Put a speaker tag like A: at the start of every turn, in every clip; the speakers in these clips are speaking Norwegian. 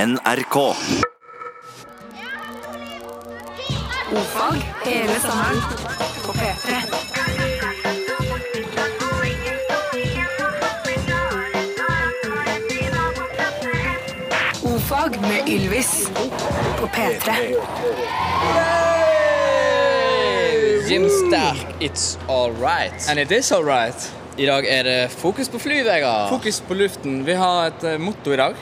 A: NRK.
B: Fag hele sommeren på P3. Ofag med Ylvis på P3.
C: Jim Sterk, it's alright.
D: And it is alright.
C: I dag er det fokus på fly, Vegard.
D: Fokus på luften. Vi har et eh, motto i dag.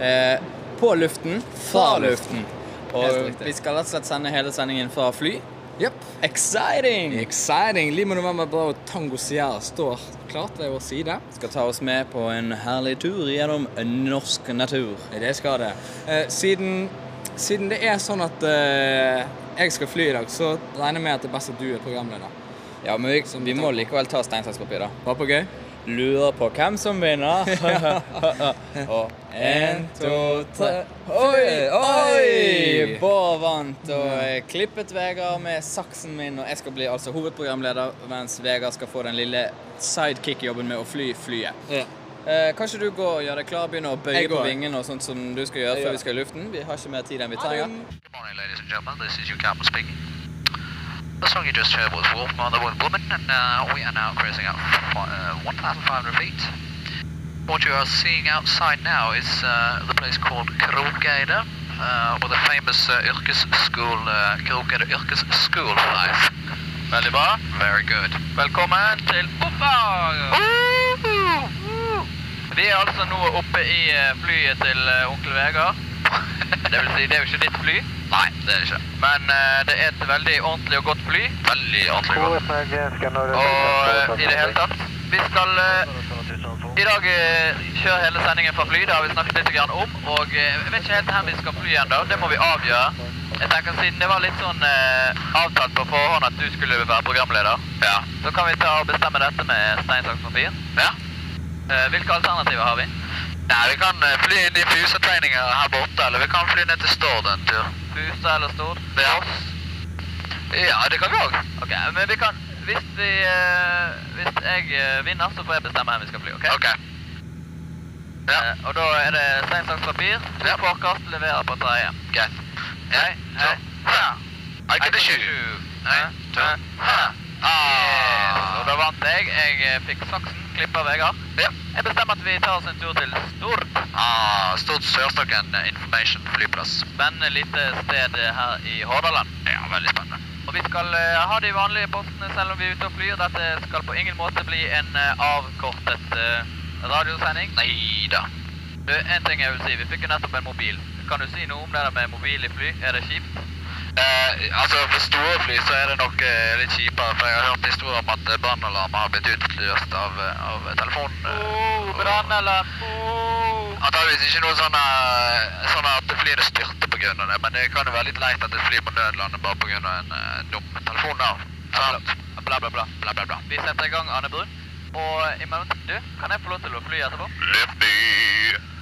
D: Eh, på luften, fra luften. Helt
C: Og
D: riktig.
C: vi skal rett og slett sende hele sendingen fra fly.
D: Yep.
C: Exciting!
D: Exciting. Limo November Bra og Tango Sierra står klart ved vår side.
C: Skal ta oss med på en herlig tur gjennom norsk natur.
D: Det skal det. Eh, siden, siden det er sånn at eh, jeg skal fly i dag, så regner jeg med at det er best at du er programleder.
C: Ja, men vi, vi må likevel ta stein, saks, papir, da.
D: Var på gøy?
C: Lurer på hvem som vinner. og en, to, tre Oi, oi! Bård vant og jeg klippet Vegard med saksen min. Og jeg skal bli altså hovedprogramleder, mens Vegard skal få den lille sidekick-jobben med å fly flyet. Eh, kanskje du går og gjør deg klar, begynner å bøye
D: Jeg
C: på
D: går.
C: vingene og sånt som du skal gjøre
D: Jeg
C: før
D: gjør.
C: vi skal i luften? Vi har ikke mer tid enn vi trenger.
E: Good morning, ladies and gentlemen. This is your captain speaking. The song you just heard was Wolf Mother One Woman, and uh, we are now cruising at fi- uh, 1,500 feet. What you are seeing outside now is uh, the place called Krogeide, uh, or the famous uh, yrkesskole, uh, Krogeide yrkesskole life. Veldig bra. Very good. Velkommen til Oppar! Vi er altså nå oppe i eh, flyet til eh, onkel Vegard. Det vil si, det er jo ikke ditt fly. Nei, det er det ikke. Men eh, det er et veldig ordentlig og godt fly. Veldig ordentlig og godt. Og eh, i det hele tatt. Vi skal eh, i dag eh, kjøre hele sendingen fra fly. Det har vi snakket litt grann om. Og eh, jeg vet ikke helt hvor vi skal fly ennå. Det må vi avgjøre. Jeg tenker Siden det var litt sånn eh, avtalt på forhånd at du skulle være programleder, Ja så kan vi ta og bestemme dette med stein, saks, papir. Ja. Eh, hvilke alternativer har vi? Nei, Vi kan eh, fly inn i Fusa-tegninga her borte, eller vi kan fly ned til Stord en tur. Fusa eller Stord? Ja. ja, det kan vi òg. Ok, men vi kan Hvis, vi, eh, hvis jeg eh, vinner, så får jeg bestemme hvor vi skal fly. ok? Ja. Eh, og da er det stein, saks, papir. Du får kast leverer på tredje. Greit. Hei, hei. I get a shoe. Én, to, Og Ah. da vant jeg. Jeg eh, fikk saksen, klippa Vegard. Jeg bestemmer at vi tar oss en tur til Stord. Ah, Stord Sørstokken eh, Information Flyplass. Spennende lite sted eh, her i Hordaland. Ja, veldig spennende. Og vi skal eh, ha de vanlige postene selv om vi er ute og flyr. Dette skal på ingen måte bli en eh, avkortet eh, radiosending. Nei da. Du, en ting jeg vil si. Vi fikk jo nettopp en mobil. Kan du si noe om det der med mobil i fly? Er det kjipt? altså, For store fly så er det nok eh, litt kjipere. For jeg har hørt historier om at brannalarm har blitt utløst av, telefonen. Oh, brannalarm! Oh. Antageligvis ikke noe sånn eh, sånn at flyene styrter pga. det, men det kan jo være litt leit at et fly må nødlande bare pga. en eh, dum telefonlarm. Sant? Bla, bla, bla. bla, bla, bla. Vi setter i gang, Anne Brun. Og i mellomtiden, du, kan jeg få lov til å fly etterpå? Lifty!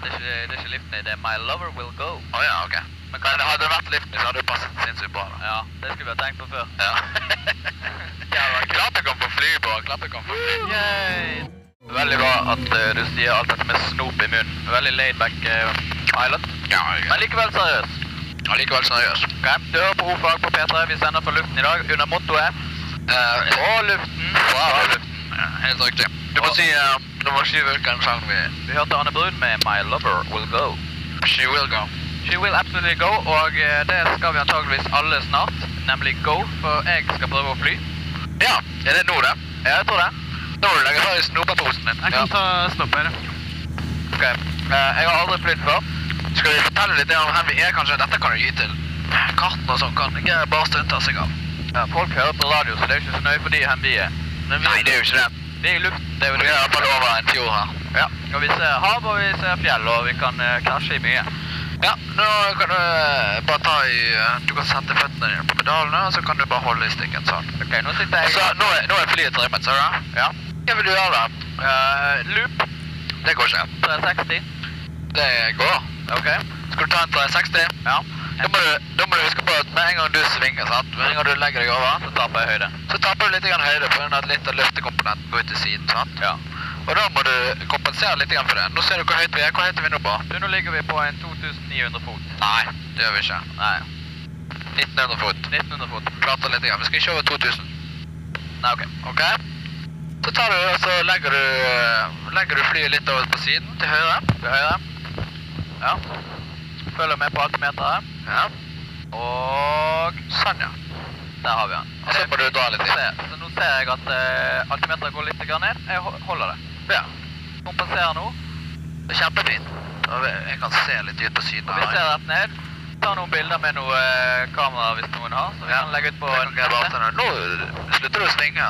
E: Det er ikke, det er ikke Lifty, det er My Lover Will Go. Å ja, ok. Men, hadde det vært Lifty, så hadde det passet sinnssykt bra. da. Ja, det skulle vi ha tenkt på før. Ja. Klart jeg kom på fly, bra. Klart jeg kom på fly. Veldig bra at eh, du sier alt dette med snop i munnen. Veldig laidback uh, pilot. Ja, Men likevel seriøs. Ja, likevel seriøs. Ok, Du hører på Ofag på P3. Vi sender fra luften i dag under mottoet På luften. Fra Eh, luften. Helt riktig. Du må si eh, Du må si hvilken sang vi Vi hørte Anne Brun med 'My Lover Will Go'. She will go. She will absolutely go, og eh, det skal vi antageligvis alle snart. Nemlig go, for jeg skal prøve å fly. Ja, er det nå, det? Ja, jeg tror det. Nå må du legge fra deg snopeposen din. Jeg kan ta snopper. Ok, eh, jeg har aldri flytt før. Skal vi fortelle litt om hvem vi er, kanskje? Dette kan du gi til. Karten og sånn kan ikke bare stunte seg av. Ja, folk hører på radio, så det er ikke så nøye for de hvem vi er. Nei, det er jo ikke det. Vi er i luften. Det er jo det. Vi er iallfall over en fjord her. Ja, og vi ser hav, og vi ser fjell, og vi kan eh, krasje i mye. Ja, nå kan du eh, bare ta i eh, Du kan sette føttene dine på pedalene, og så kan du bare holde i stikken sånn. Ok, nå sitter jeg... Altså, nå, er- nå er flyet trimmet, ser du det? Ja. Hva vil du gjøre da? loop. Det går ikke. 360. Det går. Ok. Skal du ta en 360? Ja. Da må, du, da må du huske på at med en gang du svinger, sant? med en gang du legger deg over, så taper jeg høyde. Så taper du litt grann høyde pga. at litt av løftekomponenten går ut til siden. sant? Ja. Og da må du kompensere litt grann for det. Nå ser du hvor høyt vi er. Hvor høyt er vi nå på? Du, nå ligger vi på en 2900 fot. Nei, det gjør vi ikke. Nei. 1900 fot. 1900 fot. Prater litt grann. Vi skal ikke over 2000. Nei, ok. Ok. Så tar du, og så legger du, eh, legger du flyet litt over på siden, til høyre. Til høyre. Ja. Følger med på altimeteret. Ja. Og sånn, ja. Der har vi den. Og så må du dra litt inn. Så nå ser jeg at eh, altimeteret går litt grann ned. Jeg ho- holder det. Ja. Kompenserer nå. Det er kjempefint. Jeg kan se litt ut på siden. Og vi ser rett ned. Ta noen bilder med noe eh, kamera hvis noen har, så vi kan legge ut på nettet. Nå slutter du å svinge.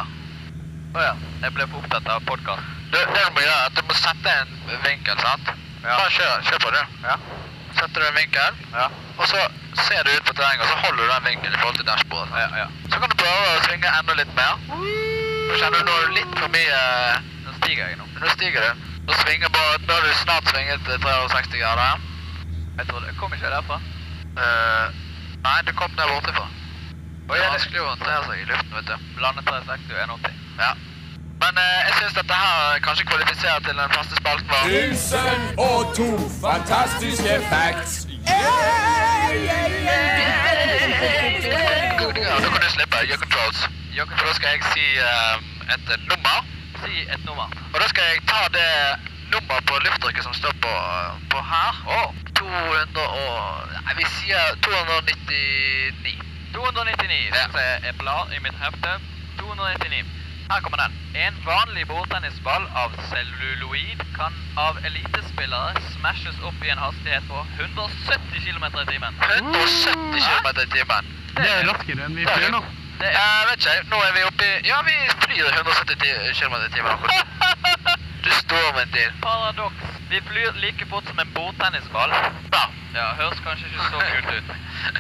E: Å ja. Jeg ble for opptatt av podkast. Det du må gjøre, er at du må sette en vinkel, sant? Bare kjør, kjør på, du. Ja. Setter du en vinkel, og så ser du ut på terrenget, og så holder du den vinkelen i forhold til dashbordet. Så kan du prøve å svinge enda litt mer. Nå kjenner du nå er det litt for mye eh, Nå stiger jeg nå. Nå stiger du. Nå svinger bare Da har du snart svinget eh, 360 grader. Jeg tror det Kom ikke derfra? nei, du kom der borte fra. Det er vanskelig å håndtere seg i luften, vet du. Landet 360 og 180. Ja. Men eh, jeg syns dette her kanskje kvalifiserer til den faste spalten vår.
A: Tusen og to fantastiske facts.
E: Ja, da kan du slippe Your Controls. Your Controls skal jeg si ehm, et eh, nummer. Si et nummer. Og da skal jeg ta det nummeret på lufttrykket som står på, eh, på her. Oh. 200 og... Nei, vi sier 299. 299 ja. er blad i mitt hefte. 299. Her kommer den. En vanlig bordtennisball av celluloid kan av elitespillere smashes opp i en hastighet på 170 km i timen. 170 km i timen? Det er raskere enn vi flyr nå. Det er, jeg vet ikke, nå er vi oppe i Ja, vi flyr 170 km i timen akkurat. Du står med en til. Paradoks. Vi flyr like fort som en bordtennisball. Ja. ja. Høres kanskje ikke så kult ut.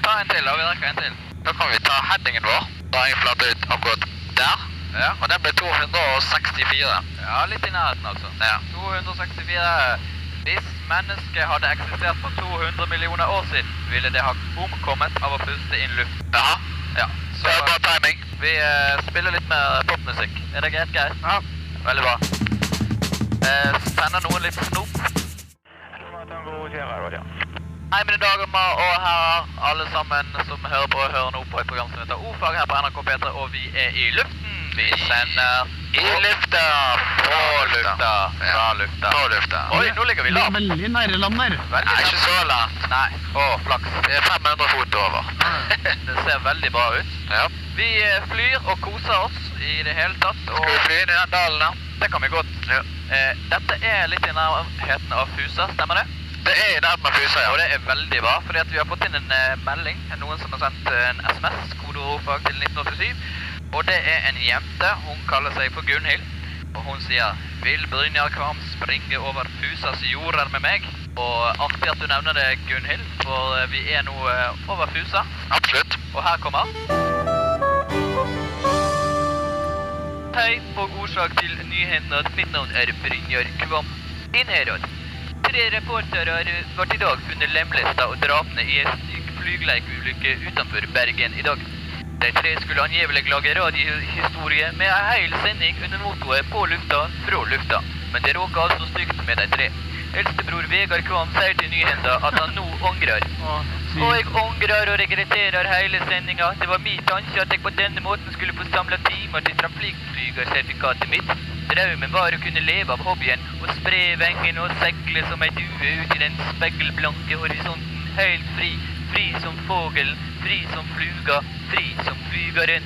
E: Ta en til, da. Vi rekker en til. Da kan vi ta headingen vår. Da er jeg flatt ut akkurat der. Ja. Og den ble 264. Ja, litt i nærheten, altså. Ja. 264. Hvis mennesket hadde eksistert for 200 millioner år siden, ville det ha omkommet av å puste inn luft. Jaha. Ja. Så det er bra timing. Vi eh, spiller litt mer popmusikk. Er det greit, Geir? Ja. Veldig bra. Eh, sender noen litt snop. Hei, mine damer og herrer, alle sammen som hører på og hører nå på et program som heter O-fag her på NRK P3, og vi er i luften. Vi sender i lufta, på lufta, fra lufta. På lufta. Oi, nå ligger vi lavt.
F: Veldig nære land der.
E: Nei, ikke så langt. Nei. Å, flaks. Det er 500 fot over. det ser veldig bra ut. Ja. Vi eh, flyr og koser oss i det hele tatt. Og... Skal vi fly i den dalen der? Det kan vi godt. Eh, dette er litt i nærheten av Fusa, stemmer det? Det er i nærheten av Fusa, ja. Og det er veldig bra, fordi at vi har fått inn en eh, melding. Noen som har sendt eh, en SMS, kodeordfag til 1987. Og det er en jente. Hun kaller seg for Gunhild. Og hun sier Vil Brynjar Kvam springe over Fusas jorder med meg? Og artig at du nevner det, Gunhild, for vi er nå eh, over Fusa. Absolutt. Og her kommer Hei og årsak til nyhendene. Mitt navn er Brynjar Kvam. Din herad. Tre reportere ble i dag funnet lemlesta og drapne i en syk flygleikulykke utenfor Bergen i dag. De tre skulle angivelig lage radiohistorie med ei hel sending under mottoet 'På lufta, fra lufta', men det råka altså stygt med de tre. Eldstebror Vegard Kvam sier til nyhenda at han nå angrer. Og jeg angrer og regretterer hele sendinga. Det var min tanke at jeg på denne måten skulle få samla timer til trafikkflygersertifikatet mitt. Drømmen var å kunne leve av hobbyen og spre vengene og segle som ei due ut i den speilblanke horisonten. Helt fri, fri som fogelen, fri som fluga, fri som flygeren.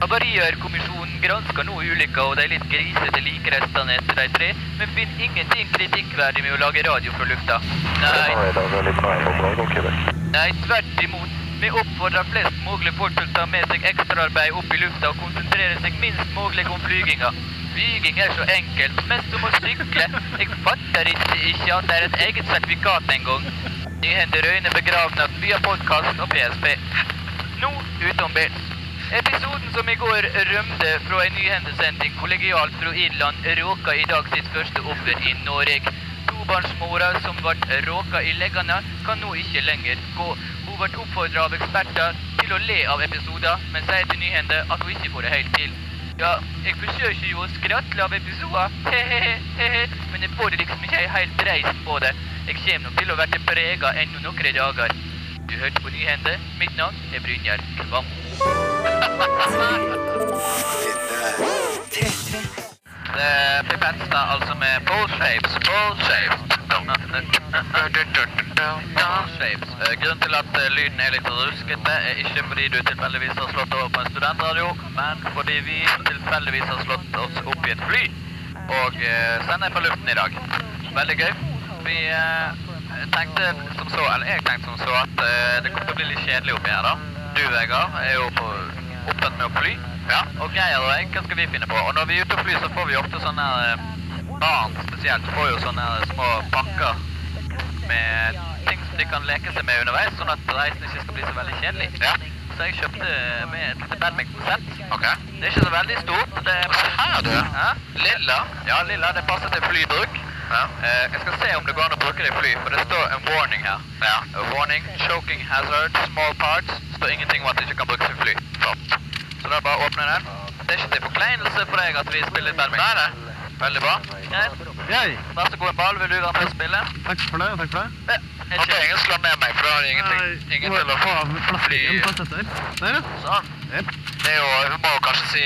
E: Havarierkommisjonen gransker nå ulykka og de litt grisete likrestene etter de tre, men finner ingenting kritikkverdig med å lage radio fra lufta. Nei. Nei, tvert imot. Vi oppfordrer flest mulig folk til å ta med seg ekstraarbeid opp i lufta og konsentrere seg minst mulig om flyginga. Flyging er så enkelt, men som å sykle. Jeg fatter ikke, ikke at det er et eget sertifikat engang. Nyhender Røyne begravnes via podkast og PSP. Nå utenbils. Episoden som i går rømte fra en nyhendesending kollegialt fra Irland, råka i dag sitt første offer i Norge. Tobarnsmora som ble råka i leggene, kan nå ikke lenger gå. Hun ble oppfordra av eksperter til å le av episoder, men sier til nyhender at hun ikke får det helt til.
F: Ja, jeg forsøker jo å skratle av episoden, he-he-he, men jeg får liksom ikke helt reisen på det. Jeg kommer nok til å være prega ennå noen dager. Du hørte på nyhender. Mitt navn er Brynjar Kvam.
B: 33.
E: Det er Pip Henstad, altså med Pole Shapes. Pole Shapes. Pole Shapes. Eh, Grunnen til at eh, lyden er litt ruskete, er ikke fordi du tilfeldigvis har slått over på en studentradio, men fordi vi tilfeldigvis har slått oss opp i et fly og eh, sender på luften i dag. Veldig gøy. Vi eh, tenkte som så, eller jeg tenkte som så, at eh, det kommer til å bli litt kjedelig oppi her, da. Du, Vegard, er jo på opptatt med å fly. Ja. Og Geir og jeg, hva skal vi finne på? Og når vi er ute og flyr, så får vi ofte sånne her, eh, barn spesielt, får jo sånne her små pakker med ting som de kan leke seg med underveis, sånn at reisen ikke skal bli så veldig kjedelig. Så jeg kjøpte med et lite badminton-sett. Det er ikke så veldig stort. Det er her, du. Ja? Lilla. Ja, lilla. Det passer til flybruk. Eh, jeg skal se om det går an å bruke det i fly, for det står en warning her. A warning, choking hazard, small parts. Det står ingenting om at det ikke kan brukes i fly. Så da bare åpner jeg den. Det er ikke til forkleinelse for deg at vi spiller badminton. Nei, nei. Veldig bra. Greit. Vær så god, en ball. Vil du være med og spille?
G: Takk for det. takk for det.
E: Ja, jeg trenger ingen slå ned meg, for da har jeg ingenting, ingen til å få fly.
G: Der, ja.
E: Sånn.
G: Jep.
E: Det er jo, vi må jo kanskje si,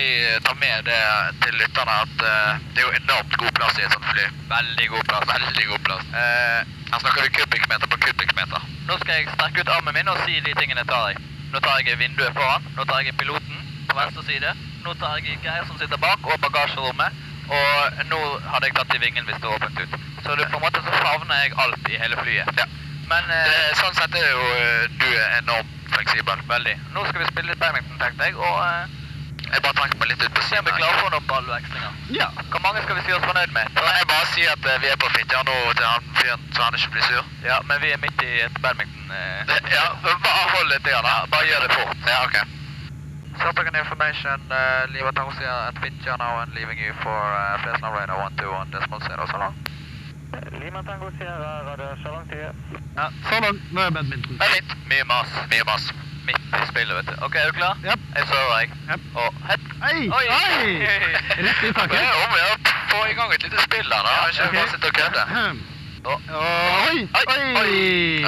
E: ta med det til lytterne, at eh, det er jo enormt god plass i et sånt fly. Veldig god plass. Veldig god plass. Eh, her snakker vi kubikkmeter på kubikkmeter. Nå skal jeg strekke ut armen min og si de tingene jeg tar i. Nå tar jeg i vinduet foran, nå tar jeg i piloten på venstre side, nå tar jeg i Geir som sitter bak og bagasjerommet, og nå hadde jeg tatt i vingen hvis det var åpent ut. Så det, på en måte så favner jeg alt i hele flyet. Men sånn sett er jo du enormt fleksibel. Veldig. Nå skal vi spille litt badminton, tenkte jeg, og eh, Jeg bare trekker meg litt ut på Se om vi klarer å få noen ballvekslinger.
G: Ja.
E: Hvor mange skal vi si oss fornøyd med? Kan jeg bare si at eh, vi er på fitta nå til han fyren, så han ikke blir sur? Ja, men vi er midt i et badminton... Ja, bare hold litt igjen, da. Bare gjør det fort. Ja, ok. Stopping information, uh, leave at house here at Fincher now and leaving you for uh, Fresno Raider 121 Decimal Zero. So long.
F: Lima Tango Sierra, Radio Shalom 10.
G: ja. Så langt. Nå er badminton.
E: Men litt. Mye mas. Mye mas. Midt i spillet, vet du. Ok, er du klar?
G: Japp.
E: Jeg sover, jeg.
G: Japp.
E: Og hett.
G: Hei!
E: Oi!
G: Hei! Rett i
E: Det er
G: taket.
E: om å gjøre å få i gang et lite spill her, da. Ikke
G: ok.
E: bare sitte og kødde.
G: Ahem.
E: Og-
G: Oi!
E: Oi! Oi!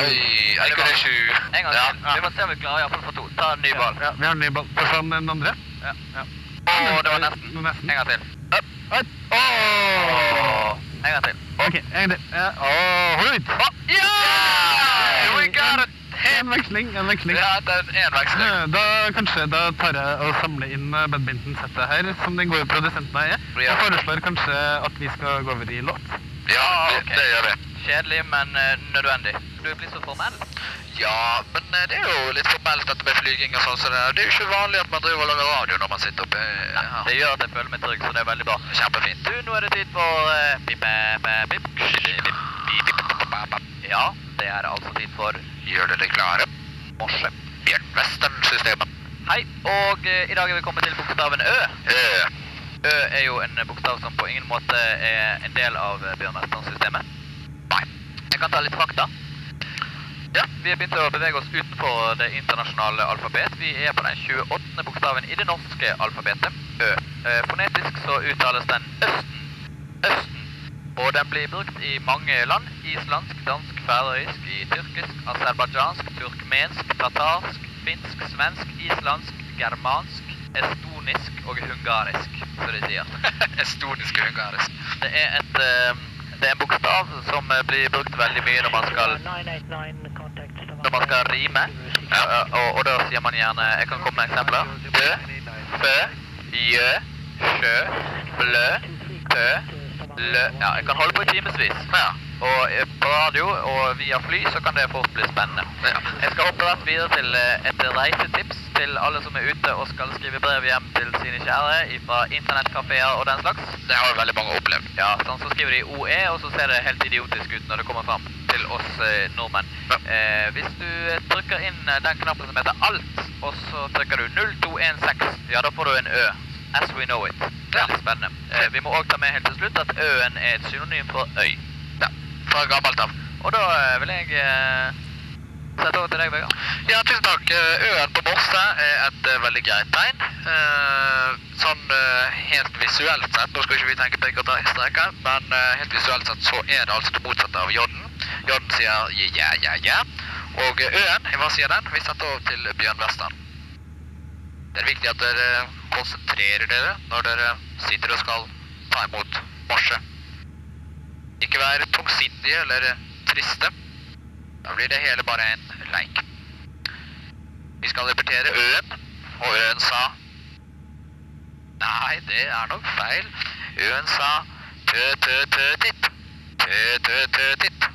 G: Oi!
E: Jeg kunne sju.
F: En gang
E: Ja.
F: til. Vi får se om vi klarer iallfall for to. Ta en ny ball.
G: Ja, vi har en ny ball. Forsvant den andre?
E: Å, det var nesten.
G: Nå nesten.
E: En gang til. Opp.
G: Oi.
E: Åh! En gang til.
G: Ok, en til. Ja. Åh, høyt!
E: Å, Ja! We got it!
G: En veksling, en veksling.
E: Ja, det er en veksling.
G: Eh, Da kanskje da tar jeg og samler inn eh, badminton-settet her, som den gode produsenten jeg er.
E: Ja.
G: Jeg foreslår kanskje at vi skal gå over i låt.
E: Ja, det gjør vi.
F: Kjedelig, men eh, nødvendig. Du blir så formell.
E: Ja, men eh, det er jo litt formelt dette med flyging og sånn, så det er det er jo ikke vanlig at man driver og lager radio når man sitter oppe eh, her.
F: Det gjør at jeg føler meg trygg, så det er veldig bra.
E: Kjempefint.
F: Du, nå er det tid for eh, pip, eh, pip, pip, pip, pip, pip, pip, pip, pip. Ja, det er altså tid for
E: Gjør dere klare? Morse. Bjørnvestern-systemet.
F: Hei, og eh, i dag er vi kommet til bokstaven Ø.
E: Eh,
F: Ø er jo en eh, bokstav som på ingen måte er en del av eh, bjørnvesternsystemet. Nei. Jeg kan ta litt fakta. Ja, vi har begynt å bevege oss utenfor det internasjonale alfabet. Vi er på den 28. bokstaven i det norske alfabetet, Ø. Eh, Fonetisk så uttales den Østen. Østen. Og den blir brukt i mange land. Islandsk, dansk, færøysk, i tyrkisk, aserbajdsjansk, turkmensk, tatarsk, finsk, svensk, islandsk, germansk, estonisk og hungarisk, som de sier.
E: Estonisk og ungarisk.
F: Det er, et, eh, det er en bokstav som eh, blir brukt veldig mye når man skal når man skal rime. Eh, Og, og da sier man gjerne Jeg kan komme med eksempler. Dø, fø, gjø, sjø, blø, tø, lø Ja, jeg kan holde på i timevis. Ja. Og eh, på radio og via fly så kan det fort bli spennende. Jeg skal hoppe rett videre til eh, et reisetips til alle som er ute og skal skrive brev hjem til sine kjære fra internettkafeer og den slags.
E: Det har jo veldig mange opplevd.
F: Ja, sånn så skriver de OE, og så ser det helt idiotisk ut når det kommer fram til oss eh, nordmenn. Eh, hvis du eh, trykker inn eh, den knappen som heter ALT, og så trykker du 0216, ja, da får du en Ø. As we know it. Veldig spennende. Eh, vi må òg ta med helt til slutt at Ø-en er et synonym for øy.
E: Ja, fra gammelt av.
F: Og da eh, vil jeg eh, sette over til deg, Vegard.
E: Ja, tusen takk. Eh, Øen på Morse er et eh, veldig greit tegn. Eh, sånn eh, helt visuelt sett, nå skal ikke vi tenke prikker og streker, men eh, helt visuelt sett så er det altså det motsatte av J-en. J-en sier ja, ja, ja, ja. Og eh, Ø-en, hva sier den? Vi setter over til Bjørn Western. Det er viktig at dere konsentrerer dere når dere sitter og skal ta imot marsjet. Ikke vær tungsindige eller triste. Da blir det hele bare en leik. Vi skal repetere Ø-en, og Ø-en sa Nei, det er nok feil. Øen sa tø-tø-tø-titt. Tø-tø-tø-titt.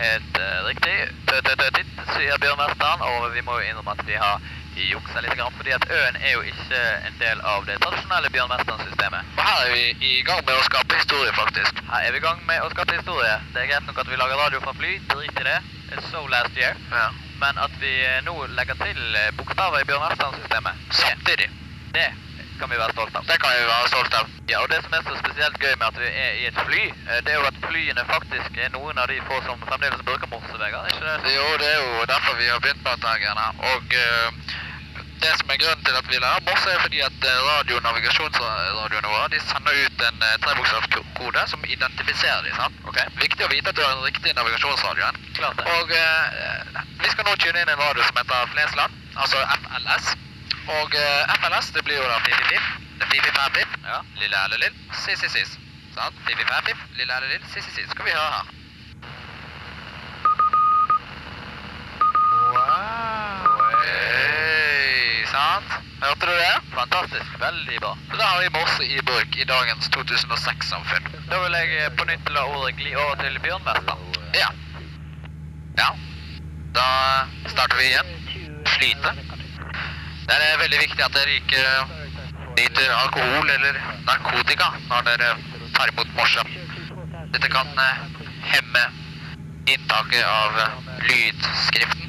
E: Helt eh, riktig. Tø-tø-tø-titt, sier Bjørn Western. Og vi må jo innrømme at vi har juksa litt, grann, fordi at Øen er jo ikke en del av det tradisjonelle Bjørn Western-systemet. Og her er vi i gang med å skape historie, faktisk. Her er vi i gang med å skape historie. Det er greit nok at vi lager radio fra fly, drit i det. It's so last year. Men at vi eh, nå legger til eh, bokstaver i Bjørn Western-systemet Samtidig. Det kan vi være stolt av. Det kan vi være stolt av. Ja, og det som er så spesielt gøy med at vi er i et fly, eh, det er jo at flyene faktisk er noen av de få som fremdeles bruker morsevegger, ikke det? Jo, det er jo derfor vi har begynt på dette her greiene. Og eh, det som er grunnen til at vi lærer morse, er fordi at eh, radionavigasjonsradioene våre de sender ut en eh, trebokstavskode som identifiserer dem. sant? Viktig å vite at du har den riktige navigasjonsradioen. Klart det. Og eh, vi skal nå tune inn en radio som heter Flesland, altså FLS. Og eh, FLS det blir jo da Fifi-Fiff, Fifi-Fæ-Fiff, ja. Lille Erlelill, Sissi-Sis. Sant? Fifi-Fæ-Fiff, Lille Erlelill, Sissi-Sis. Skal vi høre her. Hey, sant? Hørte du det? Fantastisk. Veldig bra. Så da har vi morse i bruk i dagens 2006-samfunn. Da vil jeg eh, på nytt la ordet gli over til Bjørnmester. Ja. Ja. Da starter vi igjen. Slite. Det er veldig viktig at dere ikke nyter alkohol eller narkotika når dere tar imot morse. Dette kan eh, hemme inntaket av eh, lydskriften,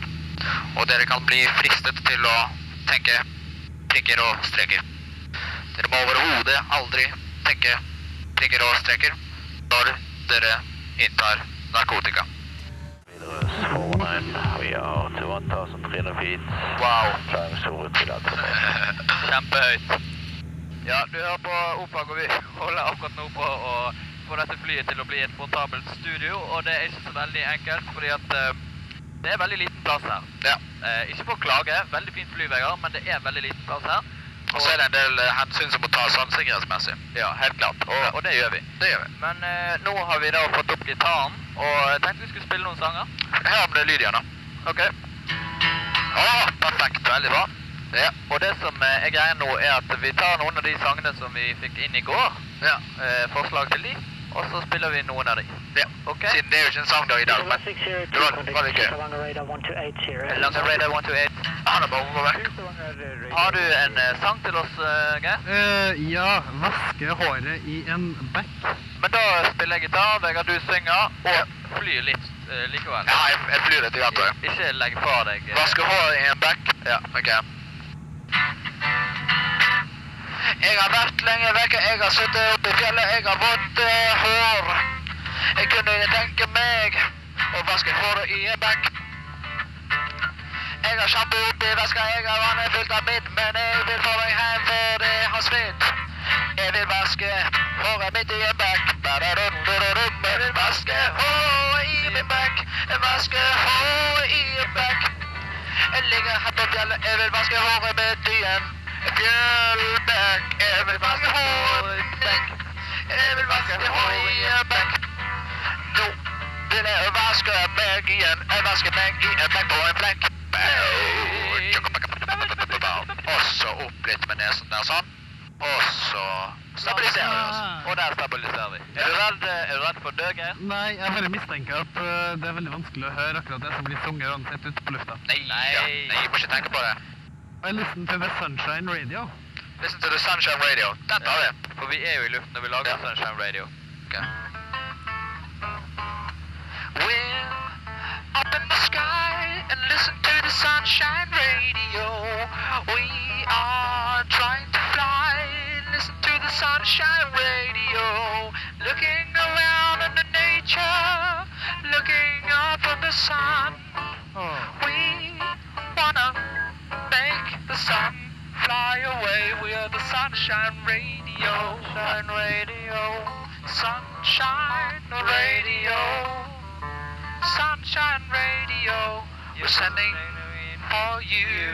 E: og dere kan bli fristet til å tenke prikker og streker. Dere må overhodet aldri tenke prikker og streker når dere inntar narkotika.
H: We are to 1,300 feet.
E: Wow.
H: Times over to that.
E: Kjempehøyt. Ja, du hører på Opag, og vi holder akkurat nå på å få dette flyet til å bli et portabelt studio. Og det er ikke så veldig enkelt, fordi at eh, det er veldig liten plass her. Eh, ikke for å klage, veldig fint fly, Vegard, men det er veldig liten plass her. Og så er det en del eh, hensyn som må tas sånn sikkerhetsmessig. Ja, helt klart. Og, og det gjør vi. Det gjør vi. Men eh, nå har vi da fått opp gitaren, og jeg tenkte vi skulle spille noen sanger. Her blir lyd igjen, da. Ok. Ja, perfekt. Veldig bra. Ja, og det som eh, er greia nå, er at vi tar noen av de sangene som vi fikk inn i går. Ja. Eh, forslag til de, og så spiller vi noen av de. Ja. Ok? Siden det er jo ikke en sang da i dag, men det var, var litt gøy. Langs Radar 128. Ha det bra, Robert. Har du en eh, sang til oss, eh, Geir?
G: Eh, ja, vaske håret i en bekk.
E: Men da spiller jeg gitar, Vegard, du synger, og flyr litt eh, likevel.
I: Ja, jeg, jeg flyr litt i hvert fall.
E: Ikke legg fra deg. eh,
I: Vasker håret i en bekk. Ja, ok. Jeg har vært lenge vekke, jeg har sittet oppe i fjellet, jeg har vått eh, hår. Jeg kunne ikke tenke meg å vaske håret i en bekk. Jeg har sjampo oppi veska, jeg har vannet fylt av mitt, men jeg vil få meg hjem før det har svidd. Jeg vil vaske håret mitt i en bekk. Badadum, badadum. Jeg vil vaske håret i min bekk. Jeg vasker håret i en bekk. Jeg ligger her på fjellet, jeg vil vaske håret mitt i en fjellbekk. Jeg vil vaske håret i en bekk. Jeg vil vaske håret i en bekk. Nå vil jeg vaske meg igjen. Jeg vasker meg i en bekk på en flekk. Og så opp litt med nesen der, sånn. Og så stabiliserer vi oss.
E: Og der stabiliserer vi. Er du redd, er du redd for å dø, Geir?
G: Nei, jeg bare mistenker at eh, det er veldig vanskelig å høre akkurat det som blir sunget uansett ute på lufta.
I: Nei, ja. Nei, jeg må ikke tenke på det.
G: I listen to the Sunshine Radio.
I: Listen to the Sunshine Radio. Den tar vi.
E: For vi er jo i luften når vi lager Sunshine Radio.
I: We're up in the sky and listen to the Sunshine Radio. We are trying to fly. Listen to the Sunshine Radio. Looking around at the nature. Looking up at the sun. We wanna make the sun fly
E: fly away. We are the Sunshine Radio. Sunshine Radio. Sunshine Radio. Sunshine Radio. We're sending for you.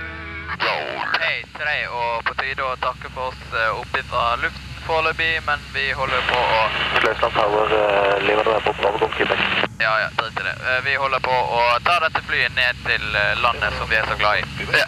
E: Hei til deg, og på tide å takke for oss eh, opp fra luften foreløpig, men vi holder på å
H: Flesland Tower, eh, lever dere på oppgave, kom Quebec.
E: Ja, ja, drit i det. Eh, Vi holder på å ta dette flyet ned til eh, landet som vi er så glad i. Ja.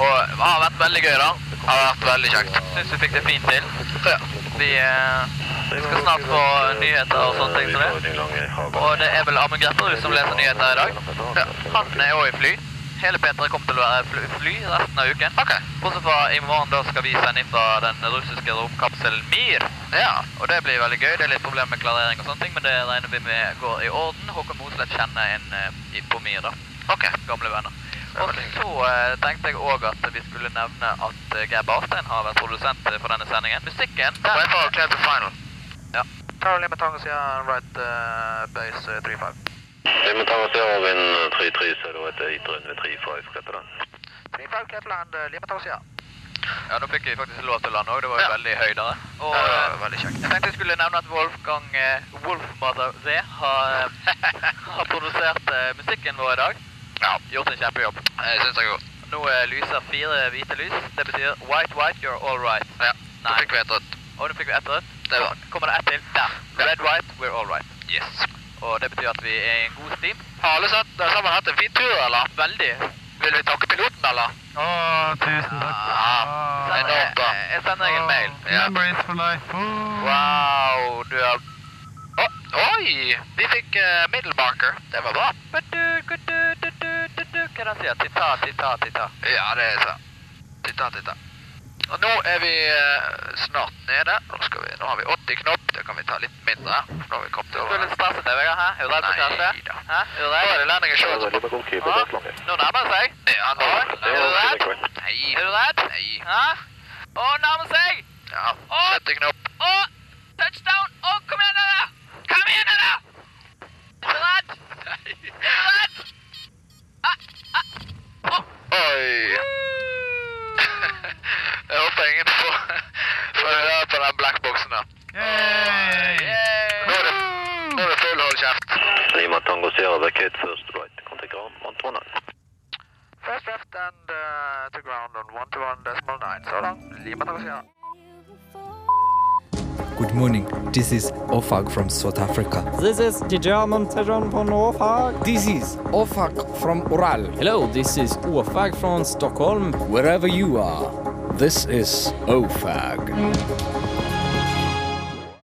E: Og det har vært veldig gøy, da. Det har vært veldig kjekt. Syns vi fikk det fint til. Ja. Vi eh, skal snart få nyheter og sånne ting som det. Og det er vel Amund Grepperud som leser nyheter i dag. Ja. Han er òg i fly. Hele P3 kommer til å være fly, fly resten av uken. Ok. Bortsett fra i morgen, da skal vi sende fra den russiske romkapselen Mir. Ja. Og det blir veldig gøy. Det er litt problemer med klarering og sånne ting, men det regner vi med går i orden. Håkon Mosleth kjenner en eh, i- på Mir, da. Ok. Gamle venner. Og så eh, tenkte jeg òg at vi skulle nevne at eh, Geir Barstein har vært produsent eh, for denne sendingen. Musikken den, Ja. Caroline Betang sier right uh, base 35.
H: Flesland Tower, Sierra Wind 33, Zulu, etter 835, Katalan.
E: eh, Ja, nå fikk vi faktisk lov til å lande òg. Det var jo veldig høydere. Og eh, Jeg tenkte jeg skulle nevne at Wolfgang eh, Wolfmother Z har, eh, har produsert eh, musikken vår i dag. Ja. Gjort en kjempejobb. Jeg syns det er godt. Nå eh, lyser fire hvite lys. Det betyr white, white, you're all right. Ja. Nå fikk vi ett rødt. Og nå fikk vi ett rødt. Det var. Kommer det ett til? Der. Red, white, we're all right. Yes. Og det betyr at vi er i en god stim. Har alle sammen hatt en fin tur, eller? Veldig. Vil vi takke piloten, eller? Ah,
G: Å, tusen takk. Ah. Å,
E: Jeg, jeg sender deg en mail.
G: Memories for life. Oh. Å.
E: Wow, du er Å, Oi! Vi fikk uh, middelmarker. Det var bra. Hva er det han sier? Titta, titta, titta. Ja, det er sant. Titta, titta. Og nå er vi eh, snart nede. Nå, skal vi, nå har vi 80 knopp. Det kan vi ta litt mindre. for Nå har vi kommet over. Du er litt stresset, Vegard? Hæ? Er du redd for kjæreste? Hæ? Er du redd? Nå er det landing i
H: Sierra Leopard, kom Quebec, Atlantic.
E: Nå nærmer det seg. Ja, nå.
H: det
E: Er du
H: var
E: redd?
H: Quebec.
E: Nei. Er du redd? Nei. Hæ? Å, nærmer seg! Ja, sett deg opp. Å, touchdown! Å, kom igjen, dere! Kom igjen, dere! Er du redd? Er du redd? Ah, Oi. Jeg håper ingen får, får høre på den blackboxen der. Nå er det, nå er det full hold kjeft.
H: Lima Tango, Sierra, vacate first right, contact ground, Montana.
E: First left and uh, to ground on 121 decimal 9. Så langt. Lima Tango
J: Good morning. This is Ofag from South Africa.
C: This is the German Tejan von Norfolk.
J: This is Ofag from Ural.
C: Hello, this is Åfag from Stockholm.
J: Wherever you are, this is Ofag.